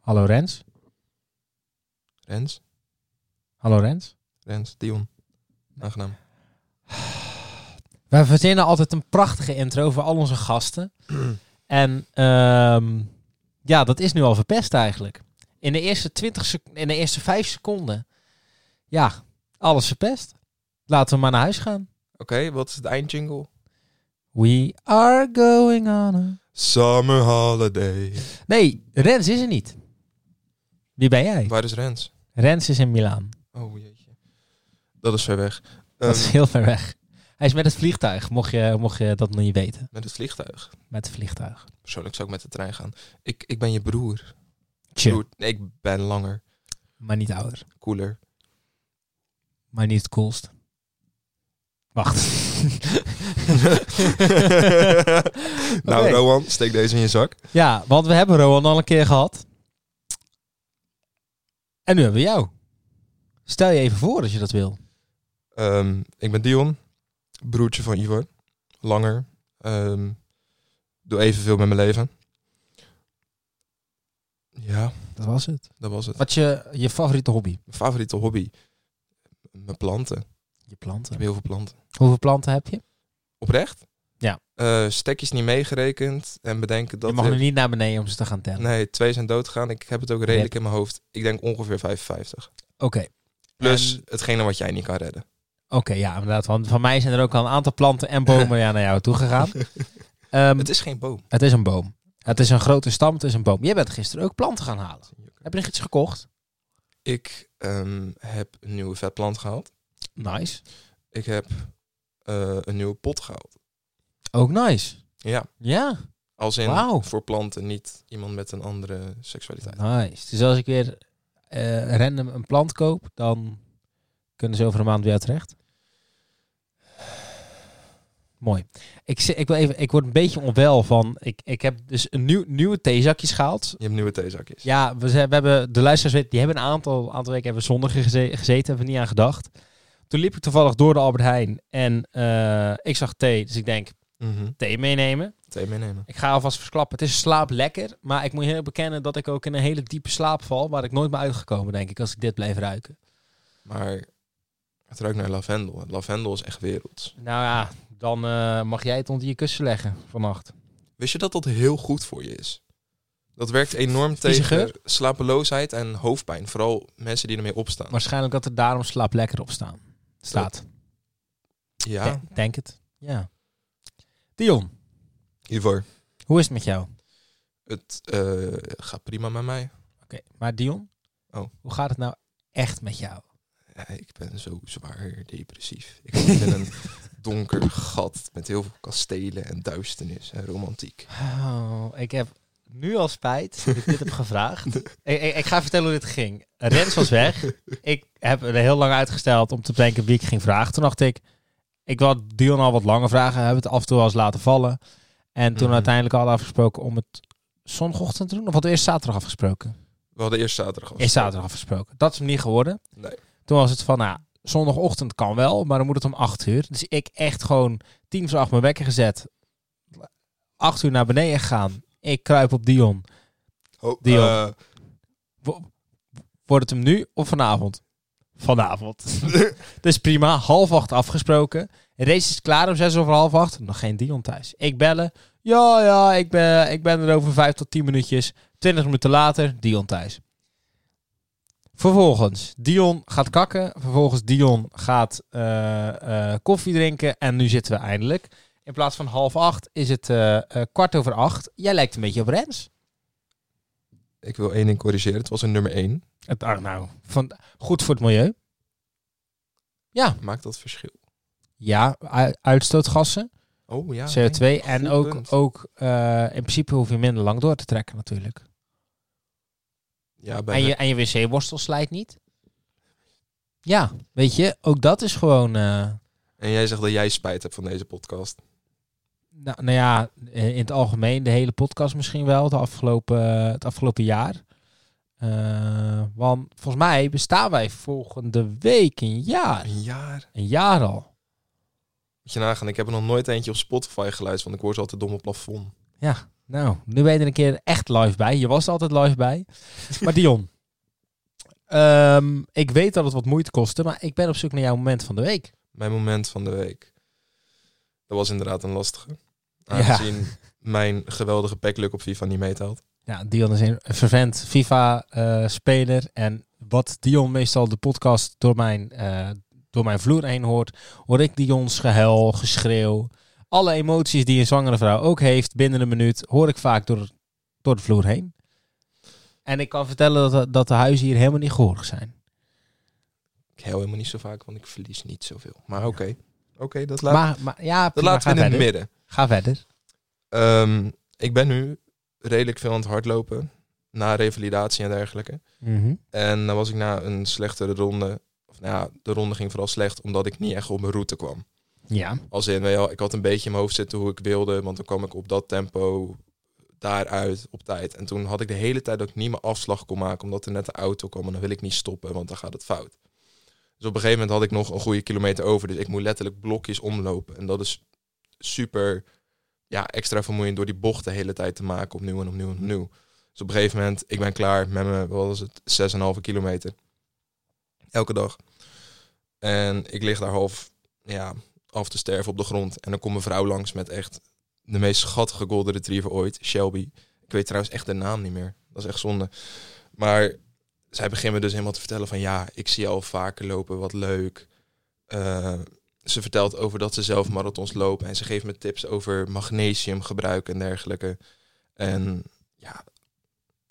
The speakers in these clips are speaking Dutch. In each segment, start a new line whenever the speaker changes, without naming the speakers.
Hallo Rens.
Rens?
Hallo Rens.
Rens, Dion. Aangenaam.
Wij verzinnen altijd een prachtige intro voor al onze gasten. en ehm, ja, dat is nu al verpest eigenlijk. In de eerste 20 sec- in de eerste 5 seconden. Ja, alles verpest. Laten we maar naar huis gaan.
Oké, wat is het eindjingle?
We are going on. a-
Summer Holiday.
Nee, Rens is er niet. Wie ben jij?
Waar is Rens?
Rens is in Milaan.
Oh jeetje. Dat is ver weg.
Dat is
Ehm,
heel ver weg. Hij is met het vliegtuig, mocht je, mocht je dat nog niet weten.
Met het vliegtuig.
Met het vliegtuig.
Persoonlijk zou ik met de trein gaan. Ik, ik ben je broer.
Chill,
Broer, nee, ik ben langer,
maar niet ouder.
cooler.
Maar niet het coolst. Wacht.
nou,
Oké.
Rowan, steek deze in je zak.
Ja, want we hebben Rowan al een keer gehad. En nu hebben we jou. Stel je even voor als je dat wil.
Ehm, ik ben Dion, broertje van Ivar. Langer. Ehm doe evenveel met mijn leven. Ja,
Dat was het.
dat was het.
Wat is je, je favoriete hobby?
Mijn favoriete hobby? Mijn planten. Ik
Je
heb
planten.
heel veel planten.
Hoeveel planten heb je?
Oprecht?
Ja.
Eh, stekjes niet meegerekend en bedenken dat...
je mag
er-
nu niet naar beneden om ze te gaan tellen.
Nee, twee zijn doodgegaan. Ik heb het ook redelijk in mijn hoofd. Ik denk ongeveer 55.
Oké.
Plus
En-
hetgene wat jij niet kan redden.
Oké, ja, inderdaad. Want van mij zijn er ook al een aantal planten en bomen ja, naar jou toe gegaan. Ehm,
Het is geen boom.
het is een boom. Het is een grote stam, het is een boom. Jij bent gisteren ook planten gaan halen. Heb je nog iets gekocht?
Ik ehm, heb een nieuwe vetplant gehaald.
Nice.
Ik heb eh, een nieuwe pot gehaald.
Ook nice.
Ja,
Ja,
als in
Wauw.
voor planten, niet iemand met een andere seksualiteit.
nice. Dus als ik weer eh, random een plant koop, dan kunnen ze over een maand weer terecht. Mooi. Ik, zi- ik, wil even, ik word een beetje onwel van... Ik, ik heb dus een nieuw, nieuwe theezakjes gehaald.
Je hebt nieuwe theezakjes.
Ja, we, zijn, we hebben de luisteraars weten, die hebben een aantal, aantal weken hebben we zondag geze- gezeten, hebben we niet aan gedacht. Toen liep ik toevallig door de Albert Heijn en eh, ik zag thee, dus ik denk
Mhm.
thee meenemen.
Thee meenemen.
Ik ga alvast verklappen, het is slaap lekker, maar ik moet heel bekennen dat ik ook in een hele diepe slaap val, waar ik nooit meer uitgekomen denk ik als ik dit blijf ruiken.
Maar het ruikt naar lavendel. En Lavendel is echt werelds.
Nou ja, dan eh, mag jij het onder je kussen leggen vannacht.
Wist je dat dat heel goed voor je is? Dat werkt enorm
Vieze
tegen
geur?
slapeloosheid en hoofdpijn. Vooral mensen die ermee opstaan.
Waarschijnlijk dat er daarom slaap lekker op staan. staat.
ja,
Denk- denk het. Ja. Dion,
Ivor,
hoe is het met jou?
het eh, gaat prima met mij.
Oké, maar Dion,
Oh.
hoe gaat het nou echt met jou?
Ja, ik ben zo zwaar depressief. Ik zit in een donker gat met heel veel kastelen en duisternis en romantiek.
Oh, ik heb nu al spijt dat ik dit heb gevraagd. Ik, ik, ik ga vertellen hoe dit ging. Rens was weg. Ik heb er heel lang uitgesteld om te bedenken wie ik ging vragen. Toen dacht ik, ik wil Dion al wat langer vragen. Hebben het af en toe wel eens laten vallen. En toen
Mhm.
uiteindelijk hadden we afgesproken om het zondagochtend te doen. Of hadden we eerst zaterdag afgesproken?
We hadden eerst zaterdag al.
Is zaterdag afgesproken. Dat is hem niet geworden.
Nee.
Toen was het van, nou, zondagochtend kan wel, maar dan moet het om 8 uur. Dus ik echt gewoon tien voor acht mijn wekker gezet. 8 uur naar beneden gegaan. Ik kruip op Dion.
Oh,
Dion.
eh,
Wo- Wordt het hem nu of vanavond? Vanavond. dus prima, half acht afgesproken. Race is klaar om zes over half acht. Nog geen Dion thuis. Ik bellen. Ja, ja, ik ben, ik ben er over vijf tot tien minuutjes. Twintig minuten later, Dion thuis. Vervolgens, Dion gaat kakken. Vervolgens, Dion gaat eh, eh, koffie drinken. En nu zitten we eindelijk. In plaats van half acht is het eh, eh, kwart over acht. Jij lijkt een beetje op Rens.
ik wil één ding corrigeren. Het was een nummer één.
Het, ah, nou, van, goed voor het milieu. Ja,
Maakt dat verschil?
ja u- uitstootgassen,
Oh ja.
CO2.
nee.
en
goed
ook,
punt.
ook eh, in principe hoef je minder lang door te trekken natuurlijk.
Ja, bij
En je, en je wc-borstel slijt niet. Ja, weet je, ook dat is gewoon... eh,
En jij zegt dat jij spijt hebt van deze podcast.
nou, nou ja, eh, in het algemeen, de hele podcast misschien wel, de afgelopen, het afgelopen jaar. Eh, want volgens mij bestaan wij volgende week een jaar.
Een jaar.
Een jaar al.
Moet je nagaan, ik heb er nog nooit eentje op Spotify geluisterd, want ik hoor ze altijd dom op plafond.
Ja, Nou, nu ben je er een keer echt live bij. Je was er altijd live bij. Maar Dion, ehm, ik weet dat het wat moeite kostte, maar ik ben op zoek naar jouw moment van de week.
Mijn moment van de week. Dat was inderdaad een lastige. Aangezien mijn geweldige packluck op FIFA niet meetelt.
Ja, Dion is een vervent FIFA-speler. en wat Dion meestal de podcast door mijn, eh, door mijn vloer heen hoort, hoor ik Dion's gehuil, geschreeuw. Alle emoties die een zwangere vrouw ook heeft binnen een minuut, hoor ik vaak door, door de vloer heen. En ik kan vertellen dat, de- dat de huizen hier helemaal niet gehoorig zijn.
Ik hel helemaal niet zo vaak, want ik verlies niet zoveel. Maar
Ja.
oké, oké, dat, laat,
maar, maar ja,
dat
prima,
laten we
ga
in het
verder.
midden.
Ga verder.
Ehm, ik ben nu redelijk veel aan het hardlopen. Na revalidatie en dergelijke.
Mhm.
En dan was ik na een slechtere ronde. Of nou ja, de ronde ging vooral slecht omdat ik niet echt op mijn route kwam.
Ja.
Als in, weet je wel, ik had een beetje in mijn hoofd zitten hoe ik wilde. Want dan kwam ik op dat tempo daaruit op tijd. En toen had ik de hele tijd dat ik niet mijn afslag kon maken. Omdat er net een auto kwam. En dan wil ik niet stoppen, want dan gaat het fout. Dus op een gegeven moment had ik nog een goede kilometer over. Dus ik moet letterlijk blokjes omlopen. En dat is super ja, extra vermoeiend door die bocht de hele tijd te maken. Opnieuw en opnieuw en opnieuw. Dus op een gegeven moment, ik ben klaar met mijn, wat was het, 6,5 kilometer. Elke dag. En ik lig daar half, ja, af te sterven op de grond. En dan komt mijn vrouw langs met echt de meest schattige golden retriever ooit, Shelby. Ik weet trouwens echt de naam niet meer. Dat is echt zonde. Maar zij begint me dus helemaal te vertellen van ja, ik zie je al vaker lopen, wat leuk. Eh, ze vertelt over dat ze zelf marathons loopt en ze geeft me tips over magnesiumgebruik en dergelijke. En ja,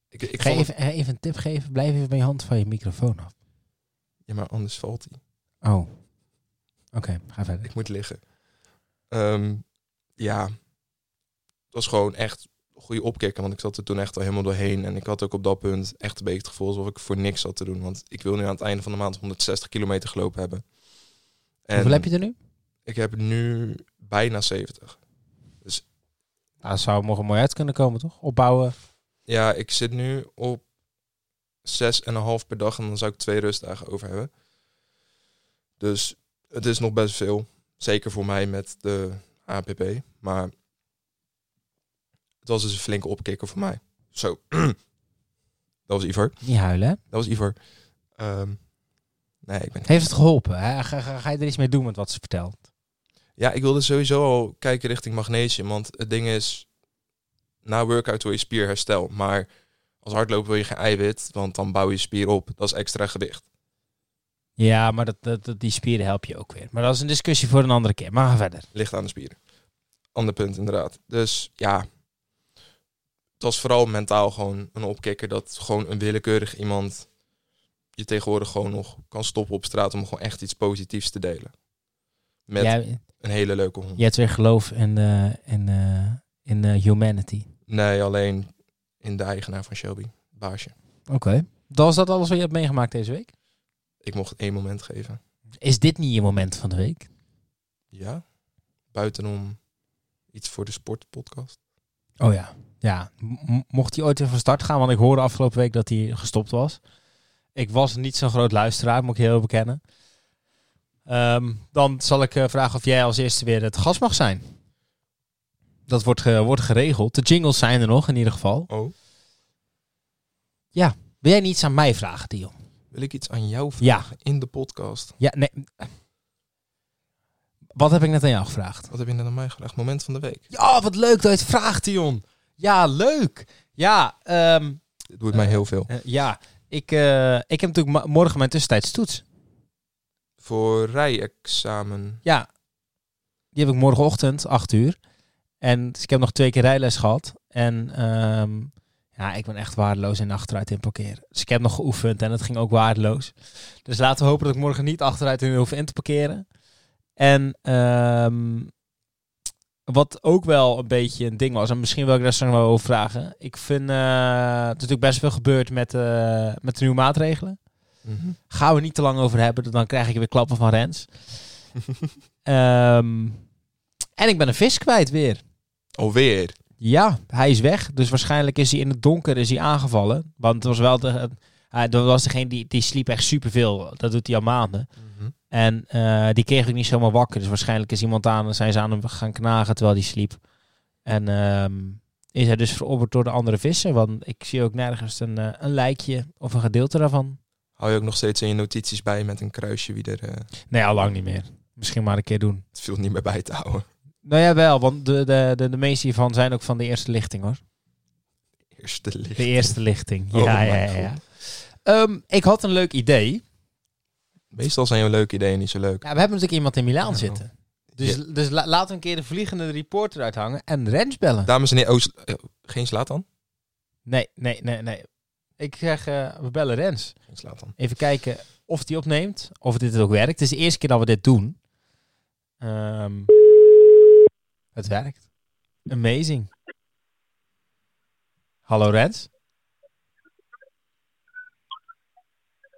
ik, ik
Ga
vond het-
even, eh, even een tip geven. Blijf even bij je hand van je microfoon af.
Ja, maar anders valt hij.
Oh. Oké, ga verder.
Ik moet liggen. Ehm, ja, het was gewoon echt een goede opkikken, want ik zat er toen echt al helemaal doorheen. En ik had ook op dat punt echt een beetje het gevoel alsof ik voor niks zat te doen. Want ik wil nu aan het einde van de maand 160 kilometer gelopen hebben. En
Hoeveel heb je er nu?
Ik heb nu bijna 70.
Nou, dat zou morgen mooi uit kunnen komen, toch? Opbouwen.
Ja, ik zit nu op 6,5 per dag en dan zou ik twee rustdagen over hebben. Dus het is nog best veel. Zeker voor mij met de APP. Maar het was dus een flinke opkikker voor mij. Zo. dat was Ivar.
Niet huilen, hè?
Dat was Ivar. Ehm, nee, ik ben...
Heeft het geholpen? Hè? Ga, ga, ga je er iets mee doen met wat ze vertelt?
Ja, ik wilde sowieso al kijken richting magnesium. Want het ding is, na workout wil je spierherstel. Maar als hardloper wil je geen eiwit, want dan bouw je spier op. Dat is extra gewicht.
Ja, maar dat, dat, dat- die spieren help je ook weer. Maar dat is een discussie voor een andere keer. Maar ga verder.
Ligt aan de spieren. Ander punt, inderdaad. Dus ja, het was vooral mentaal gewoon een opkikker dat gewoon een willekeurig iemand je tegenwoordig gewoon nog kan stoppen op straat om gewoon echt iets positiefs te delen. Met
Jij,
een hele leuke hond.
jij hebt weer geloof in, eh, in, eh, in eh, humanity.
Nee, alleen in de eigenaar van Shelby, baasje.
Oké. Dan was dat alles wat je hebt meegemaakt deze week?
Ik mocht één moment geven.
Is dit niet je moment van de week?
Ja, buitenom iets voor de sportpodcast.
Oh ja. Ja, M- mocht hij ooit weer van start gaan, want ik hoorde afgelopen week dat hij gestopt was. Ik was niet zo'n groot luisteraar, moet ik heel bekennen. Ehm, dan zal ik eh, vragen of jij als eerste weer het gast mag zijn. Dat wordt, ge- wordt geregeld. De jingles zijn er nog in ieder geval.
Oh,
Wil jij niet iets aan mij vragen, Dion?
wil ik iets aan jou
Ja.
vragen in de podcast?
Ja, nee. Wat heb ik net aan jou gevraagd?
Wat heb je net aan mij gevraagd? Moment van de week.
Ja, wat leuk dat je het vraagt, Dion. Ja, leuk. Ja, ehm,
Dit doet
Eh,
mij heel veel.
eh, ja. Ik, eh, ik heb natuurlijk ma- morgen mijn tussentijds toets.
Voor rijexamen.
Ja, die heb ik morgenochtend, 8 uur. En dus ik heb nog twee keer rijles gehad. En ehm, ja, ik ben echt waardeloos in achteruit in parkeren. Dus ik heb nog geoefend en het ging ook waardeloos. Dus laten we hopen dat ik morgen niet achteruit in hoef in te parkeren. En ehm, wat ook wel een beetje een ding was, en misschien wil ik daar straks wel over vragen. Ik vind, eh, er is natuurlijk best veel gebeurd met, eh, met de nieuwe maatregelen.
Mhm.
Gaan we niet te lang over hebben, dan krijg ik weer klappen van Rens. Ehm, en ik ben een vis kwijt weer.
Alweer.
Ja, hij is weg. Dus waarschijnlijk is hij in het donker is hij aangevallen. Want het was wel de, hij- dat was degene die, die sliep echt superveel. Dat doet hij al maanden. En eh, die kreeg ik niet zomaar wakker. Dus waarschijnlijk is iemand aan, zijn ze aan hem gaan knagen terwijl hij sliep. En ehm, is hij dus verorberd door de andere vissen. Want ik zie ook nergens een, eh, een lijkje of een gedeelte daarvan.
Hou je ook nog steeds in je notities bij met een kruisje wie er... eh,
Nee, al lang niet meer. Misschien maar een keer doen.
het viel niet meer bij te houden.
Nou ja, wel, want de, de, de, de meeste hiervan zijn ook van de eerste lichting hoor.
Eerste licht.
De eerste lichting. Ja,
Oh
ja,
mijn
ja. ja. Ehm, ik had een leuk idee.
Meestal zijn jouw leuke ideeën niet zo leuk.
Ja, we hebben natuurlijk iemand in Milaan
Ja.
zitten. Dus, dus la- laten we een keer de vliegende reporter uithangen en Rens bellen.
Dames en heren, oh, sla- eh, geen slaat dan?
nee, nee, nee, nee. Ik zeg, eh, we bellen Rens.
Geen slaat dan.
Even kijken of die opneemt, of dit ook werkt. Het is de eerste keer dat we dit doen. Ehm, het werkt. Amazing. Hallo Rens.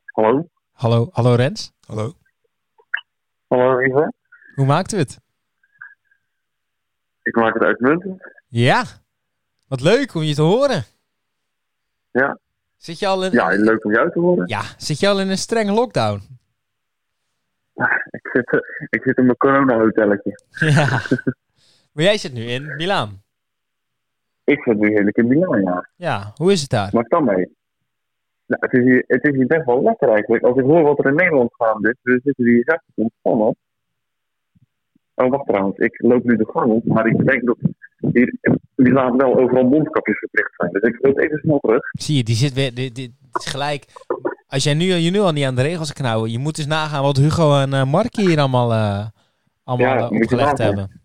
Hallo?
Hallo, hallo Rens.
Hallo?
Hallo Eva?
Hoe maakten we het?
Ik maak het uitmuntend.
Ja. Wat leuk om je te horen.
Ja.
Zit je al in,
Ja, leuk om jou te horen.
ja, zit je al in een strenge lockdown?
Ik zit, eh, ik zit in mijn corona-hotelletje.
Ja. maar jij zit nu in Milaan.
Ik zit nu heerlijk in Milaan, ja.
Ja, hoe is het daar?
Maar kan mee. Nou, het is, hier, het is hier best wel lekker eigenlijk. Als ik hoor wat er in Nederland gaande is, we zitten hier echt ontspannen. Oh, wacht trouwens. Ik loop nu de gang op, maar ik denk dat hier in Milaan wel overal mondkapjes verplicht zijn. Dus ik loop even snel terug.
Zie je, die zit weer. Dit, dit, dit is gelijk. Als jij nu, je nu al niet aan de regels knauwen, je moet dus nagaan wat Hugo en eh Markie hier allemaal, eh, allemaal
Ja,
eh,
moet je
opgelegd
nagaan.
hebben.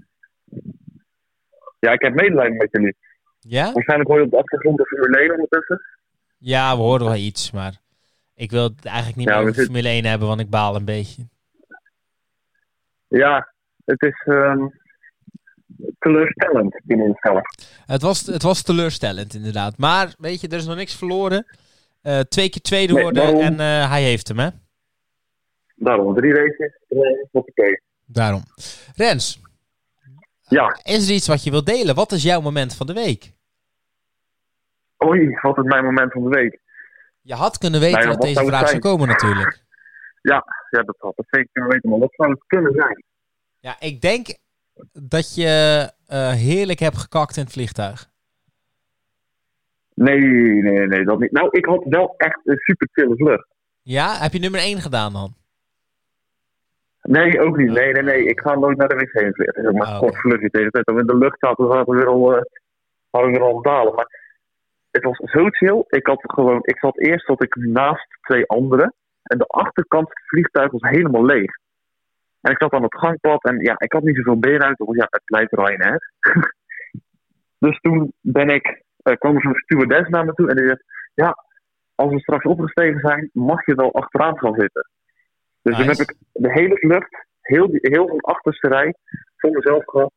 Ja, ik heb medelijden met jullie.
Ja?
Waarschijnlijk hoor je op de achtergrond de Formule 1 ondertussen.
Ja, we horen wel iets, maar ik wil het eigenlijk niet
Ja,
meer
we
over
zitten-
Formule 1 hebben, want ik baal een beetje.
Ja, het is ehm, teleurstellend in onszelf.
Het was, het was teleurstellend, inderdaad. Maar weet je, er is nog niks verloren. Eh, twee keer tweede
Nee,
worden
daarom.
en eh, hij heeft hem, hè?
Daarom drie races, eh, hoppakee.
Daarom. Rens,
Ja,
is er iets wat je wilt delen? Wat is jouw moment van de week?
oei, wat is mijn moment van de week.
Je had kunnen weten
Nou ja,
dat
wat
deze
zou het
vraag zou
zijn?
komen natuurlijk.
Ja, dat had ik zeker kunnen weten, maar wat zou het kunnen zijn?
Ja, ik denk dat je eh, heerlijk hebt gekakt in het vliegtuig.
Nee, nee, nee, dat niet. Nou, ik had wel echt een super chille vlucht.
Ja, heb je nummer 1 gedaan dan?
Nee, ook niet. Nee, nee, nee. Ik ga nooit naar de wc in vliegen. Maar
Ah,
ah,
oké.
kort vluchtje tegen de tijd. Toen we in de lucht zaten, zaten we weer al, eh, waren we weer al aan het dalen. Maar het was zo chill. Ik had gewoon, ik zat eerst zat ik naast twee anderen. En de achterkant van het vliegtuig was helemaal leeg. En ik zat aan het gangpad en ja, ik had niet zoveel benen uit. want Ja, het blijft Ryanair. dus toen ben ik, eh, kwam er zo'n stewardess naar me toe en die zegt... Ja, als we straks opgestegen zijn, mag je wel achteraan gaan zitten. Dus toen
Nice.
heb ik de hele vlucht, heel, die, heel van de achterste rij, voor mezelf gehad.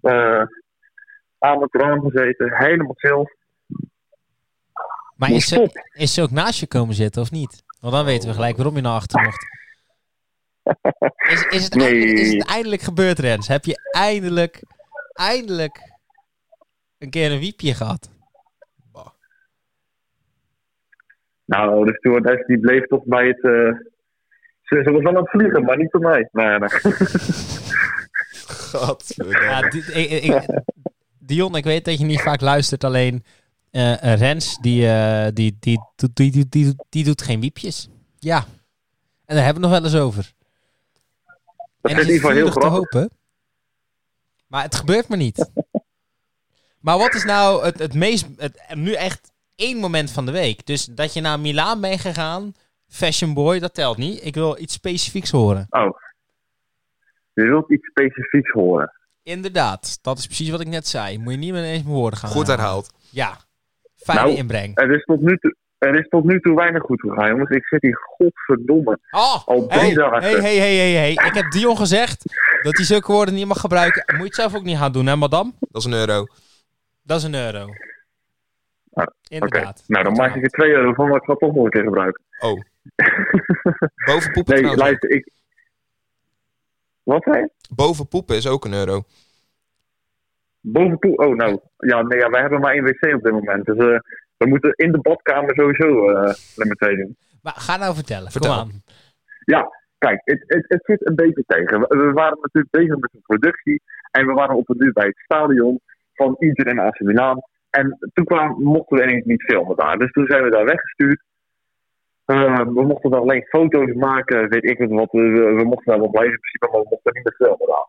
eh, aan het raam gezeten, helemaal chill.
Maar
Maar
is ze,
stop.
is ze ook naast je komen zitten of niet? Want dan weten we gelijk waarom je naar achter mocht. Is, is, het,
Nee.
eindelijk, is het eindelijk gebeurd, Rens? Heb je eindelijk, eindelijk een keer een wiepje gehad?
Nou, de stewardess die bleef toch bij het... eh, ze, ze was wel aan het vliegen, maar eh, niet voor mij. Nee, nee.
Gadverdamme.
Ja, di- ik- ik- Dion, ik weet dat je niet vaak luistert, alleen eh, eh, Rens, die, eh, die, die, doet- die, die, die, doet- die doet geen wiepjes. Ja, en daar hebben we het nog wel eens over. en
Dat is in
het
ieder geval heel
vurig te
grappig.
hopen. Maar het gebeurt me niet. maar wat is nou het, het meest, het, nu echt één moment van de week? Dus dat je naar Milaan bent gegaan, Fashion Boy, dat telt niet. Ik wil iets specifieks horen.
Oh. Je wilt iets specifieks horen.
Inderdaad, dat is precies wat ik net zei. Moet je niet meer eens mijn woorden gaan
Goed
herhalen.
herhaald.
Ja, fijne
Nou.
inbreng.
Er is, tot nu toe, er is tot nu toe weinig goed gegaan, jongens. Ik zit hier godverdomme.
Oh,
Al
hey,
drie dagen.
hey, hey, hey, hey, hey. Ik heb Dion gezegd dat hij zulke woorden niet mag gebruiken. Moet je het zelf ook niet gaan doen, hè, madam?
Dat is een euro.
Dat is een euro.
Ah, Oké,
Inderdaad.
nou dan maak ik er 2 euro van, maar ik ga het toch nog een keer gebruiken.
Oh. Boven poepen,
Nee,
trouwens ook.
luister, ik... Wat zei je?
Boven poepen is ook een euro.
Bovenpoel... Oh, nou. Ja, nee, ja, wij hebben maar één wc op dit moment. Dus eh, we moeten in de badkamer sowieso eh nummer 2 doen.
Maar ga nou vertellen.
Vertel.
Kom aan.
Kijk, het, het, het zit een beetje tegen. We, we waren natuurlijk bezig met een productie. En we waren op een duur bij het stadion van Inter en AC Milaan. En toen kwam, mochten we ineens niet filmen daar. Dus toen zijn we daar weggestuurd. Eh, we mochten daar alleen foto's maken, weet ik het wat. We, we mochten daar wel blijven in principe, maar we mochten niet meer filmen daar.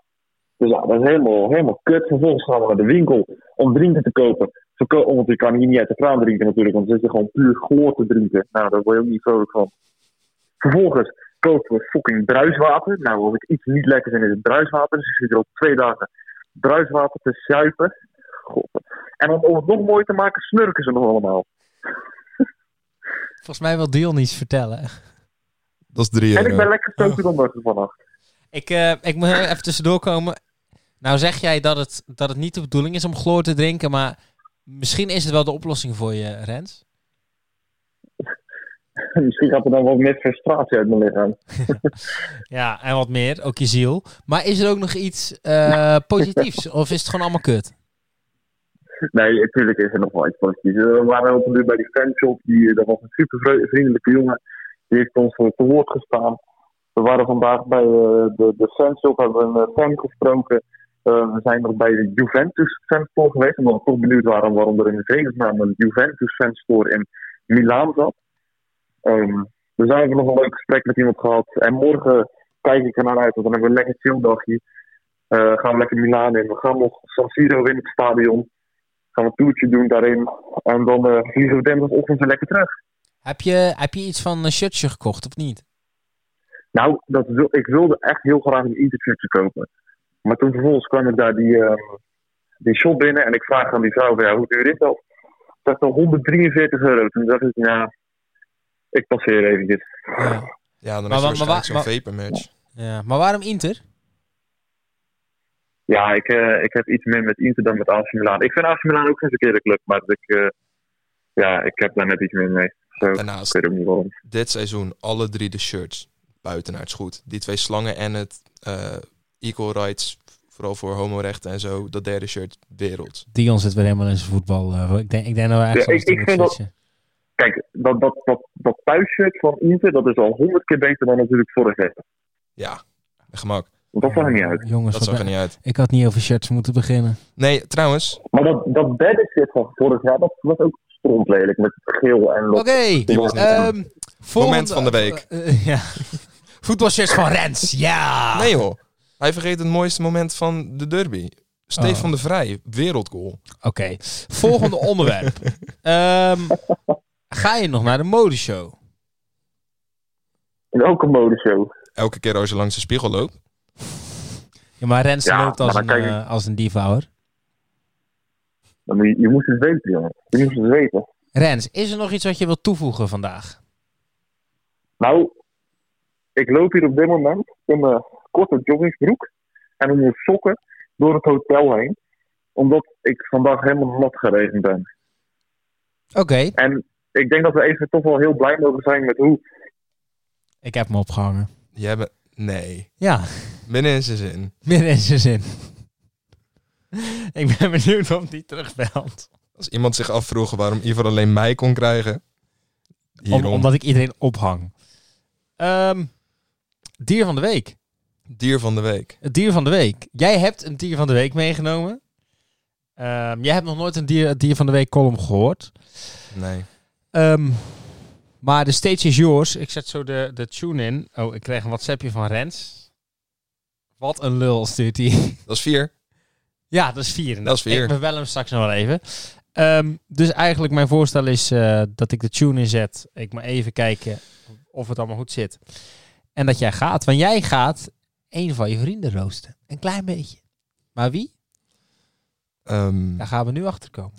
Dus ja, dat is helemaal, helemaal kut. Vervolgens gaan we naar de winkel om drinken te kopen. Verko- oh, want je kan hier niet uit de kraan drinken natuurlijk, want dan zit je gewoon puur chloor te drinken. Nou, daar word je ook niet vrolijk van. Vervolgens kopen we fucking bruiswater. Nou, als ik iets niet lekker vind, is het bruiswater. Dus ik zit er al twee dagen bruiswater te zuipen. God. En om, om het nog mooier te maken, snurken ze nog allemaal.
Volgens mij wil Dion iets vertellen.
Dat is 3
en ik ben
euro.
lekker stoken onder vannacht.
Ik, eh, ik moet even tussendoor komen. Nou zeg jij dat het, dat het niet de bedoeling is om chloor te drinken, maar misschien is het wel de oplossing voor je, Rens.
Misschien gaat er dan wat meer frustratie uit mijn lichaam.
Ja, en wat meer, ook je ziel. Maar is er ook nog iets eh, positiefs of is het gewoon allemaal kut?
Nee, natuurlijk is er nog wel iets positiefs. Eh, We waren op een duur bij die fanshop. Die, eh, dat was een super vri- vriendelijke jongen. Die heeft ons eh, te woord gestaan. We waren vandaag bij eh, de, de fanshop. Hebben we een eh, fan gesproken. Eh, we zijn nog bij de Juventus fanstore geweest. Omdat we toch benieuwd waren waarom er in de vredesnaam een Juventus fanstore in Milaan zat. Ehm dus daar hebben we nog een leuk gesprek met iemand gehad. En morgen kijk ik er naar uit. Want dan hebben we een lekker chill dagje. Eh, gaan we lekker Milaan in. We gaan nog San Siro in het stadion gaan we een toertje doen daarin. En dan eh, vliegen we dinsdagochtend weer lekker terug.
Heb je, heb je iets van een shirtje gekocht of niet?
Nou, dat wil, ik wilde echt heel graag een interviewtje kopen. Maar toen vervolgens kwam ik daar die, eh, die shop binnen en ik vraag aan die vrouw, van, ja, hoe duur is dat? Dat is dan 143 euro. Toen dacht ik, nou, ik passeer eventjes.
Ja.
Ja, dan
Maar
is
wa-
er
maar wa-
waarschijnlijk zo'n vapormatch.
Ja, maar waarom Inter?
Ja, ik, eh, ik heb iets meer met Inter dan met AC Milan. Ik vind AC Milan ook geen verkeerde club, maar ik, eh, ja, ik heb daar net iets meer mee. Zo, ik
Daarnaast,
weet ook niet waarom.
dit seizoen alle drie de shirts buitenaards goed. Die twee slangen en het eh, equal rights, vooral voor homorechten en zo. Dat derde shirt, wereld.
Dion zit weer helemaal in zijn voetbal. eh, ik, denk, ik denk dat we
Ja,
eigenlijk
ik- ik vind dat- Kijk, dat, dat, dat, dat thuisshirt van Inter, dat is al honderd keer beter dan natuurlijk vorig jaar.
Ja, gemak.
Want dat zag er niet uit.
Jongens,
Dat
wat
zag er
ben-
niet uit.
ik had niet over shirts moeten beginnen.
Nee, trouwens,
Maar dat, dat shit van vorig jaar, dat was ook strontlelijk met geel en
Oké,
lot.
die was niet aan.
ehm, volgende-
Moment van de week.
eh, eh, ja. Voetbalshirts van Rens, ja!
Nee joh. Hij vergeet het mooiste moment van de derby. Stefan
Oh.
de Vrij, wereldgoal.
Oké, volgende onderwerp. Ehm, ga je nog naar de modeshow?
En ook een modeshow.
Elke keer als je langs de spiegel loopt.
Ja, maar Rens
Ja,
loopt als
maar
een,
dan kijk ik-
eh, als een diva, hoor.
Dan moet Je, je moest het weten, jongen. Je moest het weten.
Rens, is er nog iets wat je wilt toevoegen vandaag?
Nou, ik loop hier op dit moment in mijn korte joggingbroek en in mijn sokken door het hotel heen. Omdat ik vandaag helemaal nat geregend ben.
Oké,
En ik denk dat we even toch wel heel blij mogen zijn met hoe
ik heb hem opgehangen.
Jij bent... Nee.
Ja,
Binnen in zijn zin.
meer in zijn zin. ik ben benieuwd of die terugbelt.
Als iemand zich afvroeg waarom Ivar alleen mij kon krijgen.
Om,
Hierom.
omdat ik iedereen ophang. Ehm, dier van de week.
Dier van de week.
Het dier van de week. Jij hebt een dier van de week meegenomen. Ehm, jij hebt nog nooit een dier, het dier van de week column gehoord.
Nee.
Ehm, maar de stage is yours. Ik zet zo de, de tune in. Oh, ik kreeg een WhatsAppje van Rens. Wat een lul stuurt hij.
Dat is vier.
ja, dat is vier.
Dat is vier.
Ik we bellen hem straks nog wel even. Ehm, dus eigenlijk mijn voorstel is eh, dat ik de tune inzet. Ik moet even kijken of het allemaal goed zit. En dat jij gaat. Want jij gaat een van je vrienden roosten. Een klein beetje. Maar wie?
Ehm,
Daar gaan we nu achter komen.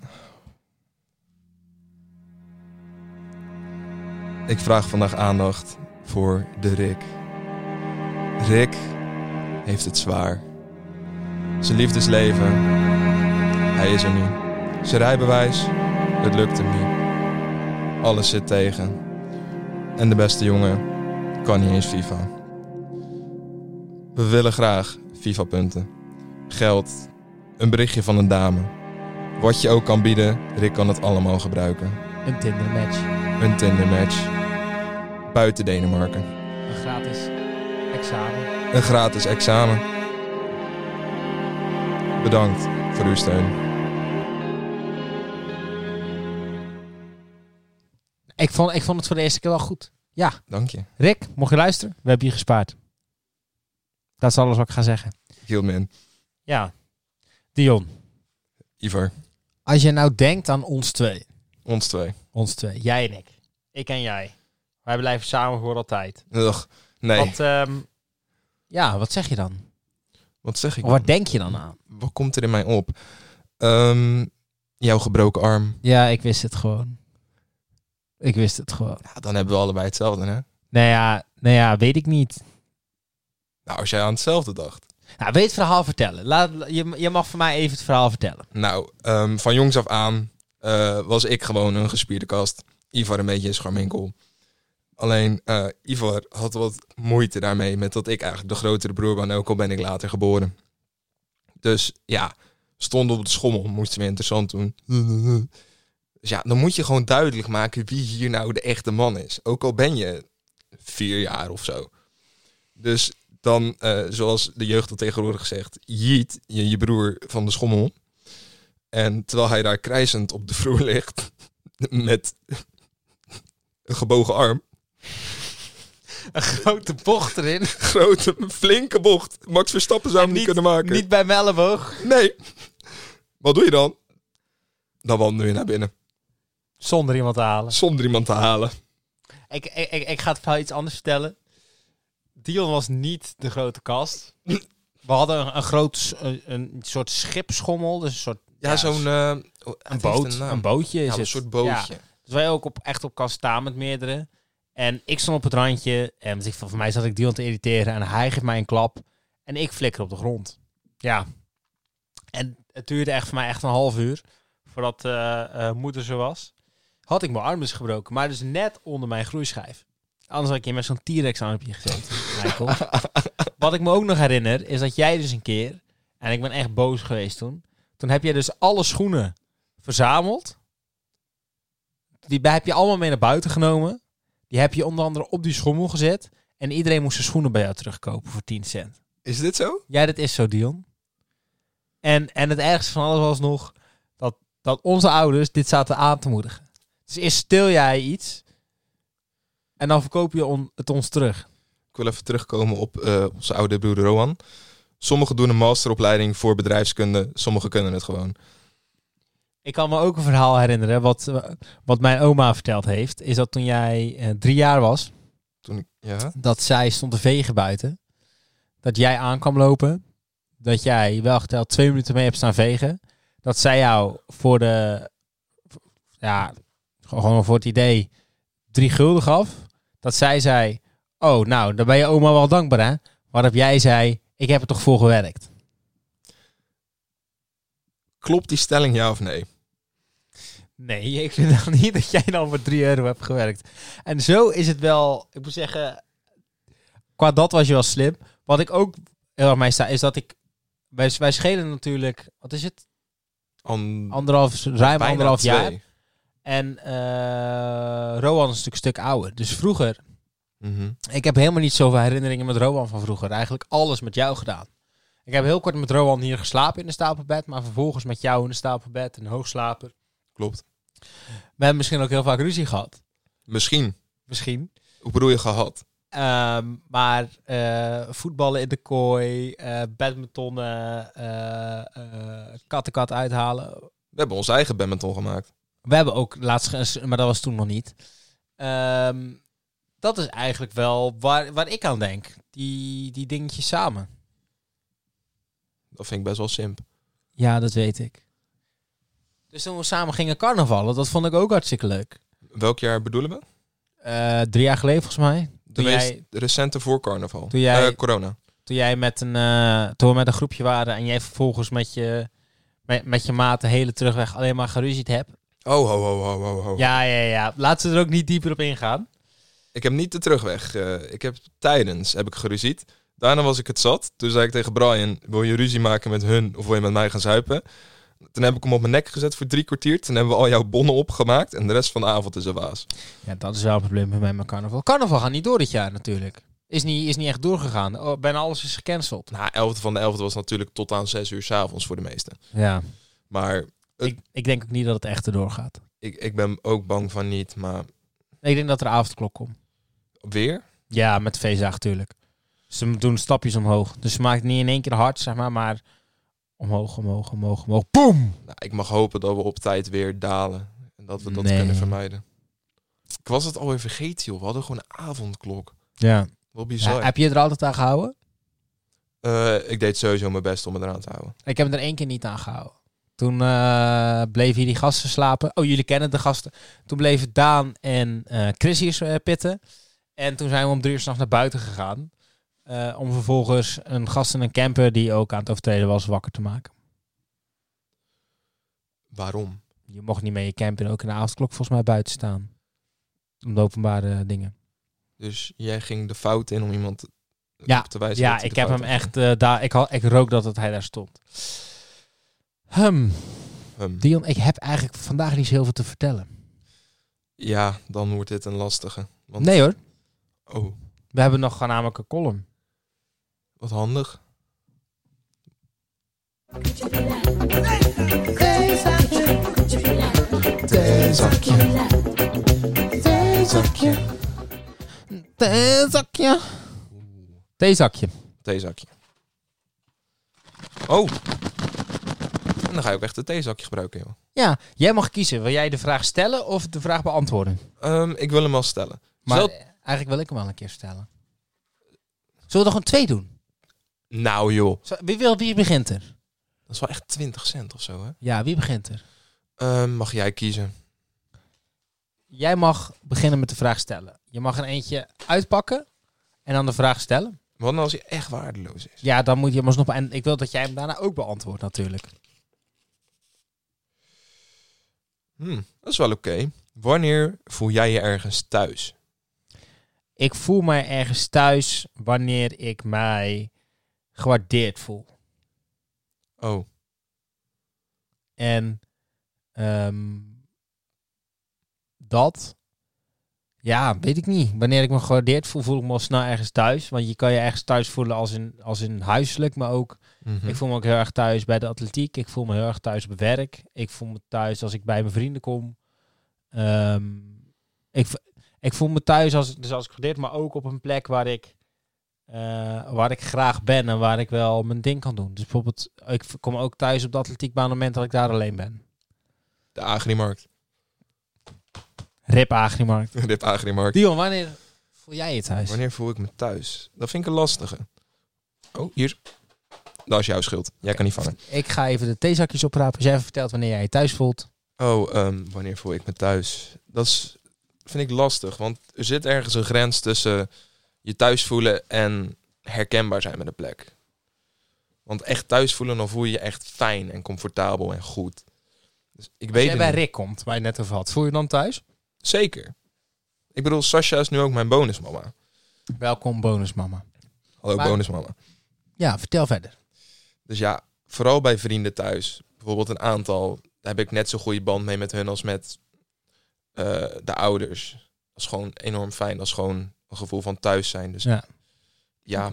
Ik vraag vandaag aandacht voor de Rick. Rick heeft het zwaar. Zijn liefdesleven, hij is er niet. Zijn rijbewijs, het lukt hem niet. Alles zit tegen. En de beste jongen kan niet eens FIFA. We willen graag FIFA-punten. Geld, een berichtje van een dame. Wat je ook kan bieden, Rick kan het allemaal gebruiken.
Een Tinder match.
Een Tinder-match. Buiten Denemarken.
Een gratis examen.
Een gratis examen. Bedankt voor uw steun.
ik vond, ik vond het voor de eerste keer wel goed.
Dank je.
Rick, mocht je luisteren, we hebben je gespaard. Dat is alles wat ik ga zeggen.
Heel man.
Ja. Dion,
Ivar,
als je nou denkt aan ons twee.
ons twee.
Ons twee, jij en ik. Ik en jij. Wij blijven samen voor altijd.
Ugh, nee. Wat,
Wat, ehm, ja, wat zeg je dan?
zeg ik?
Of wat denk je dan aan?
Wat komt er in mij op? Ehm, jouw gebroken arm.
Ja, ik wist het gewoon. Ik wist het gewoon.
Ja, dan hebben we allebei hetzelfde, hè?
Nou ja, nou ja weet ik niet.
Nou, als jij aan hetzelfde dacht.
Nou, weet het verhaal vertellen. Laat, je, je mag voor mij even het verhaal vertellen.
Nou, ehm, van jongs af aan eh, was ik gewoon een gespierde kast. Ivar een beetje een scharminkel. Alleen eh, Ivar had wat moeite daarmee met dat ik eigenlijk de grotere broer ben, ook al ben ik later geboren. Dus ja, stond op de schommel, moesten we interessant doen. Dus ja, dan moet je gewoon duidelijk maken wie hier nou de echte man is. Ook al ben je vier jaar of zo. Dus dan, eh, zoals de jeugd al tegenwoordig zegt, jeet je, je broer van de schommel. En terwijl hij daar krijzend op de vloer ligt, met een gebogen arm,
Een grote bocht erin.
grote, flinke bocht. Max Verstappen zou
En
hem niet,
niet-
kunnen maken.
Niet bij Melleboog.
Nee. Wat doe je dan? Dan wandel je naar binnen,
Zonder iemand te halen.
zonder iemand te halen.
Ik, ik, ik, ik ga het verhaal iets anders vertellen. Dion was niet de grote kast. We hadden een, een groot s- een, een soort schipschommel. Dus een soort
Ja,
Ja,
zo'n... eh, het
een
heeft
boot.
een
Een,
naam.
bootje is
Ja, een
het.
soort
Ja.
bootje.
Dus wij ook op, echt op kan staan met meerdere. En ik stond op het randje. En dus ik, voor mij zat ik Dion te irriteren. En hij geeft mij een klap. En ik flikker op de grond. Ja. En het duurde echt voor mij echt een half uur. Voordat eh, eh, moeder zo was. Had ik mijn arm dus gebroken. Maar dus net onder mijn groeischijf. Anders had ik je met zo'n T-Rex armpje gezeten, Michael. Wat ik me ook nog herinner, is dat jij dus een keer... En ik ben echt boos geweest toen. Toen heb jij dus alle schoenen verzameld. Die bij- heb je allemaal mee naar buiten genomen. Die heb je onder andere op die schommel gezet. En iedereen moest zijn schoenen bij jou terugkopen voor 10 cent.
Is dit zo?
Ja, dat is zo, Dion. En, en het ergste van alles was nog dat, dat onze ouders dit zaten aan te moedigen. Dus eerst stil jij iets. En dan verkoop je on- het ons terug.
Ik wil even terugkomen op eh, onze oude broer Rohan. Sommigen doen een masteropleiding voor bedrijfskunde, sommigen kunnen het gewoon.
Ik kan me ook een verhaal herinneren. Wat, eh, wat mijn oma verteld heeft. Is dat toen jij eh, drie jaar was.
Toen ik, ja?
dat zij stond te vegen buiten. Dat jij aan kwam lopen. Dat jij wel geteld twee minuten mee hebt staan vegen. Dat zij jou voor de. Ja, gewoon voor het idee. drie gulden gaf. Dat zij zei. Oh, nou, daar ben je oma wel dankbaar hè. Waarop jij zei. Ik heb er toch voor gewerkt.
Klopt die stelling ja of nee?
Nee, ik vind dan niet dat jij dan voor 3 euro hebt gewerkt. En zo is het wel, ik moet zeggen, qua dat was je wel slim. Wat ik ook heel erg mij sta, is dat ik, wij, wij schelen natuurlijk, wat is het?
An-
Anderhalf, ruim
bijna
anderhalf
twee.
jaar. En eh, Roan is natuurlijk een stuk ouder. Dus vroeger,
Mhm.
ik heb helemaal niet zoveel herinneringen met Roan van vroeger. Eigenlijk alles met jou gedaan. Ik heb heel kort met Roan hier geslapen in een stapelbed, maar vervolgens met jou in een stapelbed, een hoogslaper.
Klopt.
We hebben misschien ook heel vaak ruzie gehad.
Misschien.
Misschien.
Hoe bedoel je gehad?
Ehm, maar eh, voetballen in de kooi, eh badmintonnen, eh eh, kattenkat uithalen.
We hebben ons eigen badminton gemaakt.
We hebben ook laatst, ge- maar dat was toen nog niet. Ehm, dat is eigenlijk wel waar, waar ik aan denk. Die, die dingetjes samen.
Dat vind ik best wel simp.
Ja, dat weet ik. Dus toen we samen gingen carnavallen, dat vond ik ook hartstikke leuk.
Welk jaar bedoelen we?
Eh, drie jaar geleden volgens mij.
De
Toen
meest
jij-
recente voor carnaval.
Toen jij-
Eh, corona.
Toen jij met een, eh, toen we met een groepje waren en jij vervolgens met je, met, met je maat de hele terugweg alleen maar geruzied hebt.
Oh, ho, ho, ho, ho, ho.
Ja, ja, ja. Laten we er ook niet dieper op ingaan.
Ik heb niet de terugweg. eh, ik heb tijdens heb ik geruzied. Daarna was ik het zat. Toen zei ik tegen Brian, wil je ruzie maken met hun of wil je met mij gaan zuipen? Toen heb ik hem op mijn nek gezet voor drie kwartier. Toen hebben we al jouw bonnen opgemaakt. En de rest van de avond is een waas.
Ja, dat is wel een probleem met mijn carnaval. Carnaval gaat niet door dit jaar natuurlijk. Is niet, is niet echt doorgegaan. Oh, bijna alles is gecanceld.
Nou, 11 van de 11 was natuurlijk tot aan 6 uur s'avonds voor de meesten.
Ja.
Maar
Ik, ik denk ook niet dat het echt erdoor gaat.
ik, ik ben ook bang van niet. Maar
Nee, ik denk dat er avondklok komt.
Weer?
Ja, met feestdag natuurlijk. Ze doen stapjes omhoog. Dus ze maakt het niet in één keer hard, zeg maar, maar omhoog, omhoog, omhoog, omhoog. Boom!
Nou, ik mag hopen dat we op tijd weer dalen. En dat we dat
Nee.
kunnen vermijden. Ik was het alweer vergeten, joh. We hadden gewoon een avondklok.
Ja.
Wel bizar.
Heb je er altijd aan gehouden?
Eh, ik deed sowieso mijn best om het eraan te houden.
Ik heb er één keer niet aan gehouden. Toen eh, bleven hier die gasten slapen. Oh, jullie kennen de gasten. Toen bleven Daan en eh, Chris hier eh, pitten. En toen zijn we om drie uur s'nachts naar buiten gegaan. eh, om vervolgens een gast en een camper die ook aan het overtreden was wakker te maken.
Waarom?
Je mocht niet mee je camper ook in de avondklok volgens mij buiten staan. Om de openbare dingen.
Dus jij ging de fout in om iemand
Ja,
op te wijzen. dat
Ja,
hij
ik
de
heb
fout
hem
had.
echt eh, daar. Ik, had, ik rook dat het hij daar stond. Hm,
Hem.
Dion, ik heb eigenlijk vandaag niet zo heel veel te vertellen.
Ja, dan wordt dit een lastige. Want...
Nee hoor,
Oh,
we hebben nog gewoon namelijk een column.
wat handig.
Theezakje. Theezakje.
Theezakje. Oh. En dan ga je ook echt het theezakje gebruiken, joh.
Ja, jij mag kiezen. Wil jij de vraag stellen of de vraag beantwoorden?
Ehm, ik wil hem al stellen.
Maar
Zal-
eh, eigenlijk wil ik hem wel een keer stellen. Zullen we er gewoon twee doen?
Nou, joh.
Zal- Wie, wil, wie begint er?
Dat is wel echt 20 cent of zo, hè?
Ja, wie begint er?
Ehm, mag jij kiezen?
Jij mag beginnen met de vraag stellen. Je mag er eentje uitpakken en dan de vraag stellen.
Wat nou als hij echt waardeloos is?
Ja, dan moet je hem alsnog... En ik wil dat jij hem daarna ook beantwoordt natuurlijk.
Hm, dat is wel oké. Wanneer voel jij je ergens thuis?
Ik voel mij ergens thuis wanneer ik mij gewaardeerd voel.
Oh,
En ehm, dat... Ja, weet ik niet. Wanneer ik me gewaardeerd voel, voel ik me al snel ergens thuis. Want je kan je ergens thuis voelen als in, als in huiselijk, maar ook...
mhm.
Ik voel me ook heel erg thuis bij de atletiek. Ik voel me heel erg thuis op werk. Ik voel me thuis als ik bij mijn vrienden kom. Ehm, ik, v- ik voel me thuis als, dus als ik gedeerd, maar ook op een plek waar ik, eh, waar ik graag ben en waar ik wel mijn ding kan doen. Dus bijvoorbeeld, ik v- kom ook thuis op de atletiekbaan op het moment dat ik daar alleen ben.
de Agrimarkt.
Rip Agrimarkt.
Dit Agrimarkt.
Dion, wanneer voel jij je thuis?
Wanneer voel ik me thuis? Dat vind ik een lastige. Oh, hier. Dat is jouw schuld. Jij kan niet vangen.
Ik ga even de theezakjes oprapen. Als jij even vertelt wanneer jij je thuis voelt.
Oh, ehm, wanneer voel ik me thuis? Dat is, vind ik lastig, want er zit ergens een grens tussen je thuis voelen en herkenbaar zijn met de plek. Want echt thuis voelen, dan voel je je echt fijn en comfortabel en goed. Dus ik
Als
weet
jij
het
bij
niet.
Rick komt, waar je net over had, voel je dan thuis?
Zeker. Ik bedoel, Sasha is nu ook mijn bonusmama.
Welkom bonusmama.
Hallo
Maar-
bonusmama.
Ja, vertel verder.
Dus ja, vooral bij vrienden thuis. Bijvoorbeeld een aantal. Daar heb ik net zo'n goede band mee met hun als met eh, de ouders. Dat is gewoon enorm fijn. Dat is gewoon een gevoel van thuis zijn. Dus
Ja.
ja,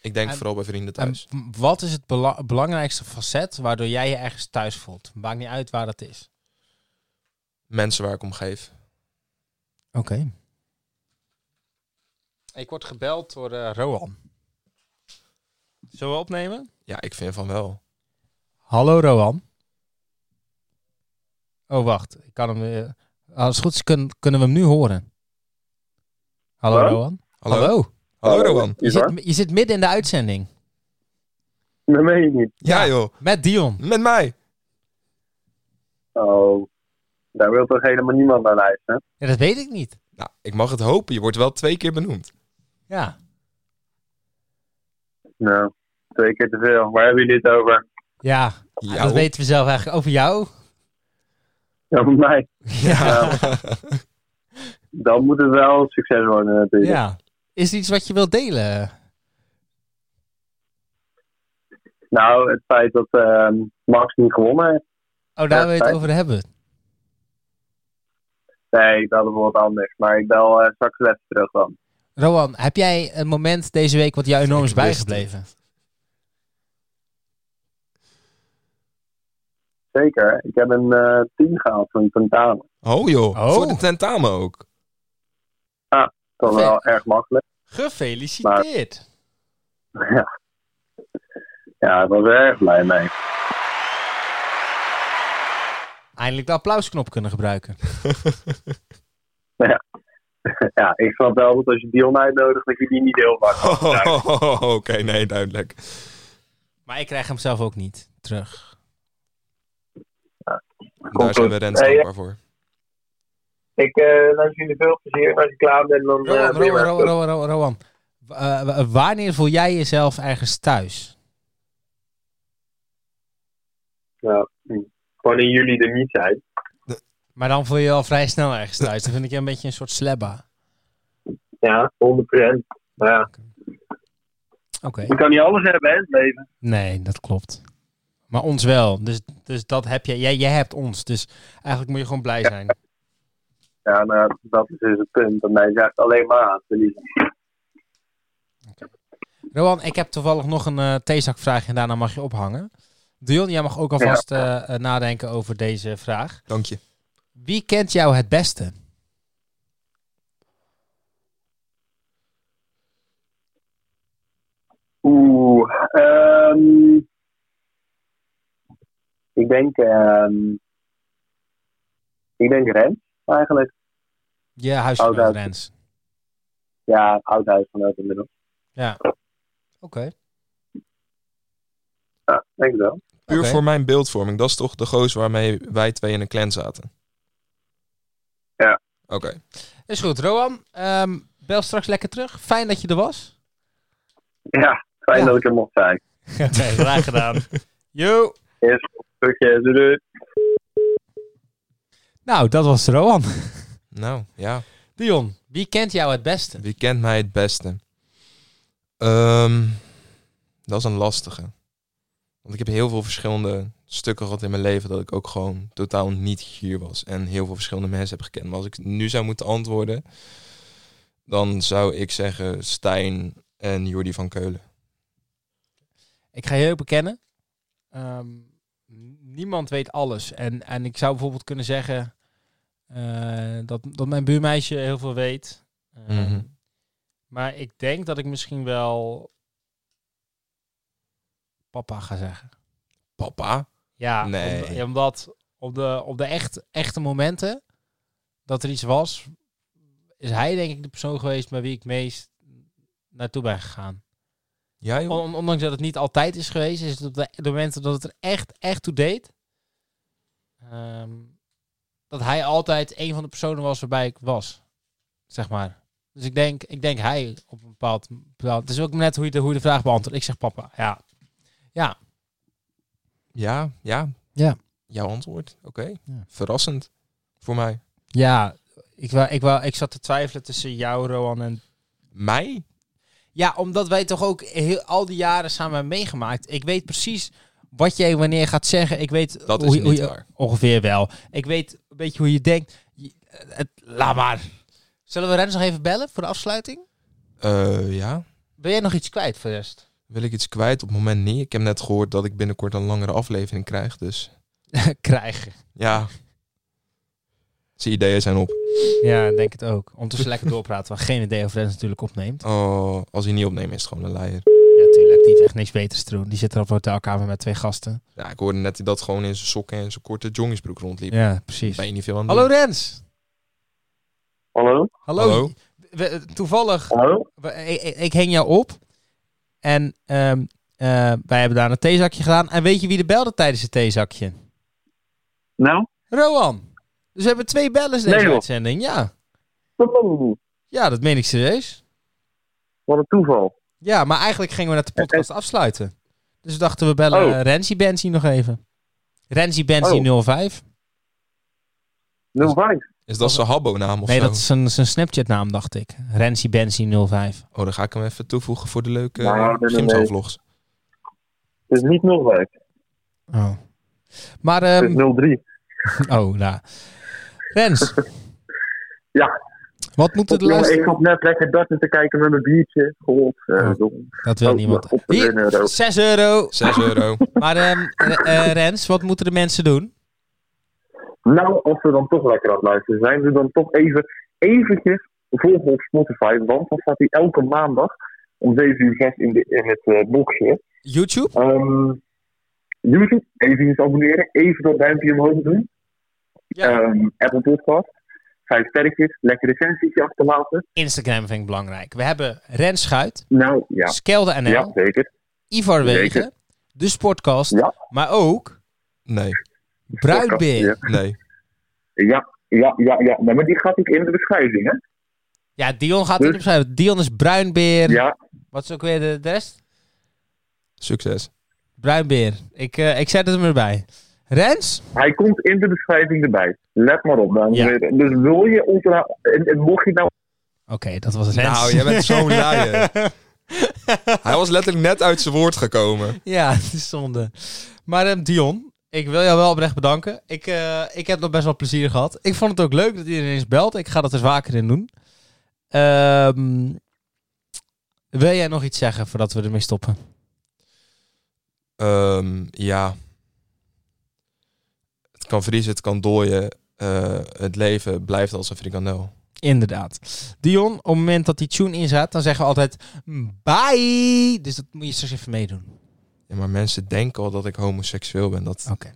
ik denk
En-
vooral bij vrienden
En
thuis.
w- wat is het bela- belangrijkste facet waardoor jij je ergens thuis voelt? Maakt niet uit waar dat is.
Mensen waar ik om geef.
Oké. Ik word gebeld door eh, Roan. Zullen we opnemen?
Ja, ik vind van wel.
Hallo Roan. Oh, wacht. Ik kan hem, eh, als het goed is, kun- kunnen we hem nu horen. Hallo,
Hallo?
Roan.
Hallo, Hallo,
Hallo.
Rowan.
Je
eh, Is waar?
zit, je zit midden in de uitzending.
Dat meen je niet.
Ja, joh,
Met Dion.
met mij.
Oh, daar wil toch helemaal niemand naar luisteren?
Ja, dat weet ik niet.
Nou, ik mag het hopen. Je wordt wel twee keer benoemd.
Ja.
Nou, twee keer te veel. Waar hebben jullie het over?
Ja,
Ja,
Ah, dat weten we zelf eigenlijk. Over jou?
Over mij.
Ja.
Dan moet het wel een succes worden natuurlijk.
Ja. Is er iets wat je wilt delen?
Nou, het feit dat ehm, Max niet gewonnen heeft.
Oh, daar
Ja,
wil je het
fijn.
over hebben.
Nee, ik wilde wel wat anders. Maar ik bel eh, straks wel even terug dan.
Roan, heb jij een moment deze week wat jou enorm is
Ik wist
bijgebleven?
Zeker. Ik heb een eh 10 gehaald van tentamen.
Oh joh,
Oh.
voor de tentamen ook.
Dat was wel erg makkelijk.
Gefeliciteerd.
Ja. Ja, ik was er erg blij mee.
Eindelijk de applausknop kunnen gebruiken.
Ja, ik snap wel dat als je Dion uitnodigt, dat je die niet heel makkelijk.
Oké, nee, duidelijk.
Maar ik krijg hem zelf ook niet terug.
Oh, Daar zijn we Rens
Nee,
dankbaar voor.
Ik eh wens jullie veel plezier. Als je klaar bent, dan. eh,
Rowan,
ben je
Rowan,
maar
Rowan, Rowan, Rowan, Rowan. W- eh, w- wanneer voel jij jezelf ergens thuis?
Ja, hm. Gewoon in jullie er niet zijn.
Maar dan voel je je al vrij snel ergens thuis. Dan vind ik je een beetje een soort slebba.
Ja, 100%. Maar ja,
Oké.
je kan niet alles hebben, hè, in het leven.
Nee, dat klopt. Maar ons wel. Dus, dus dat heb jij. Jij, jij hebt ons. Dus eigenlijk moet je gewoon blij zijn.
Ja, nou, dat is dus het punt. Dat mij zegt alleen maar aan te verliezen.
Rowan, ik heb toevallig nog een eh theezakvraag en daarna mag je ophangen. Dion, jij mag ook alvast eh, eh, nadenken over deze vraag.
Dank je.
Wie kent jou het beste?
Oeh, ehm ik denk, ehm ik denk Rens eigenlijk.
Je huisgenoot
Oud-huis.
Rens.
Ja, oud huisgenoot inmiddels.
Oké.
Ja, denk ik wel.
Puur
Oké.
voor mijn beeldvorming, dat is toch de goos waarmee wij twee in een clan zaten?
Ja.
Oké,
Is goed. Rowan, ehm, bel straks lekker terug. Fijn dat je er was.
Ja, fijn
Ja.
dat ik er mocht zijn.
graag gedaan. Yo.
Eerst een stukje, doei, doei.
Nou, dat was Rowan.
nou ja.
Dion, wie kent jou het beste?
Wie kent mij het beste? Ehm, dat is een lastige. Want ik heb heel veel verschillende stukken gehad in mijn leven dat ik ook gewoon totaal niet hier was. En heel veel verschillende mensen heb gekend. Maar als ik nu zou moeten antwoorden, dan zou ik zeggen Stijn en Jordi van Keulen.
Ik ga je ook bekennen. ehm, niemand weet alles. En, en ik zou bijvoorbeeld kunnen zeggen eh, dat, dat mijn buurmeisje heel veel weet. Ehm,
Mhm.
Maar ik denk dat ik misschien wel papa ga zeggen.
Papa?
Ja, om-
Nee.
ja, omdat op de, op de echt, echte momenten dat er iets was, is hij denk ik de persoon geweest bij wie ik meest naartoe ben gegaan.
Ja, joh.
On- ondanks dat het niet altijd is geweest, is het op de, de momenten dat het er echt, echt toe deed. ehm, dat hij altijd een van de personen was waarbij ik was. Zeg maar. Dus ik denk, ik denk hij op een bepaald, bepaald. Het is ook net hoe je de, hoe je de vraag beantwoordt. Ik zeg papa. Ja.
Ja, ja.
Ja.
Jouw antwoord. Oké.
Ja.
Verrassend voor mij.
Ja. Ik, wou, ik, wou, ik zat te twijfelen tussen jou, Roan, en
Mij?
Ja, omdat wij toch ook heel, al die jaren samen hebben meegemaakt. Ik weet precies wat jij wanneer gaat zeggen. Ik weet
Dat
hoe,
is
je- hoe
niet
je-
waar.
Ongeveer wel. Ik weet een beetje hoe je denkt. Je- eh, het, laat maar. Zullen we Rens nog even bellen voor de afsluiting?
Eh, ja.
Wil jij nog iets kwijt voor de rest?
Wil ik iets kwijt? Op het moment niet. Ik heb net gehoord dat ik binnenkort een langere aflevering krijg. Dus
Krijgen.
ja. Zijn ideeën zijn op.
Ja, ik denk het ook. Ondertussen lekker doorpraten. We geen idee of Rens natuurlijk opneemt.
Oh, als hij niet opneemt is het gewoon een leier.
Ja, tuurlijk. Die heeft echt niks beters te doen. Die zit er op een hotelkamer met twee gasten.
Ja, ik hoorde net dat hij dat gewoon in zijn sokken en zijn korte jongensbroek rondliep.
Ja, precies.
Ben je niet veel aan het
Hallo
doen.
Rens.
Hallo?
Hallo.
Hallo.
We- eh, toevallig
Hallo?
we- ik, ik- ik hing jou op. En ehm, eh, wij hebben daar een theezakje gedaan. En weet je wie er belde tijdens het theezakje?
Nou?
Roan. Dus we hebben twee bellers deze
Nee, joh.
uitzending. Ja.
Wow,
ja, dat meen ik serieus.
Wat een toeval.
Ja, maar eigenlijk gingen we net de podcast afsluiten. Dus we dachten we bellen
Oh.
eh, Renzi Benzi nog even. Renzi Benzi 05.
05.
Is dat zijn habbo-naam of
Nee,
zo?
dat is zijn, zijn Snapchat naam, dacht ik. Renzi Benzi 05.
Oh, dan ga ik hem even toevoegen voor de leuke
Nou, nee, nee,
Gimzo
nee.
vlogs.
Het is niet 05.
Oh. Maar,
Het
ehm,
is 03.
oh, nou. Rens.
Ja.
Wat moeten de
Jongen,
luisteraars...
ik zat net lekker darten te kijken met mijn biertje. God, eh, dom.
Dat wil
Oh,
niemand.
op de
Hier,
euro.
6 euro.
6 euro.
eh, Maar ehm, R- eh, Rens, wat moeten de mensen doen?
Nou, als we dan toch lekker aan het luisteren zijn, doe dan toch even eventjes volgen op Spotify. Want dan staat hij elke maandag om 7 uur 6 in, de, in het eh boxje.
YouTube?
Ehm, YouTube, even abonneren. Even dat duimpje omhoog doen.
Ja.
Ehm, Apple Podcast. Vijf sterretjes. Lekker recensietje achterlaten.
Instagram vind ik belangrijk. We hebben Ren Schuit,
Nou, ja.
Skelde NL,
Ja, zeker.
Ivar
Zeker.
Wegen, de Sportcast,
Ja.
maar ook
Nee,
Bruidbeer.
Ja.
Ja.
nee.
Ja, ja, ja. ja. Nee, maar die gaat ik in de beschrijving, hè?
Dion gaat
Dus-
het opschrijven. Dion is Bruinbeer.
Ja.
Wat is ook weer de, de rest?
Succes.
Bruinbeer. Ik, eh, ik zet het hem erbij. Rens?
Hij komt in de beschrijving erbij. Let maar op, dames en
Ja.
heren. Dus wil je ons nou... En, en mocht je nou...
Oké, dat was Rens.
Nou, jij bent zo'n liar. Hij was letterlijk net uit zijn woord gekomen.
Ja, het is zonde. Maar ehm, Dion, ik wil jou wel oprecht bedanken. Ik, eh, ik heb nog best wel plezier gehad. Ik vond het ook leuk dat iedereen eens belt. Ik ga dat er vaker in doen. Ehm, wil jij nog iets zeggen voordat we ermee stoppen?
Ehm, ja. Het kan vriezen, het kan dooien. Eh, het leven blijft als een frikandel.
Inderdaad. Dion, op het moment dat die tune in zat, dan zeggen we altijd mm, bye. Dus dat moet je straks even meedoen.
Ja, maar mensen denken al dat ik homoseksueel ben. Dat...
Oké.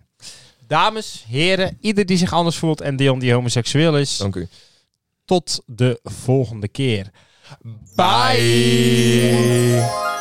Dames, heren, ieder die zich anders voelt en Dion die homoseksueel is.
Dank u.
Tot de volgende keer. Bye.
Bye.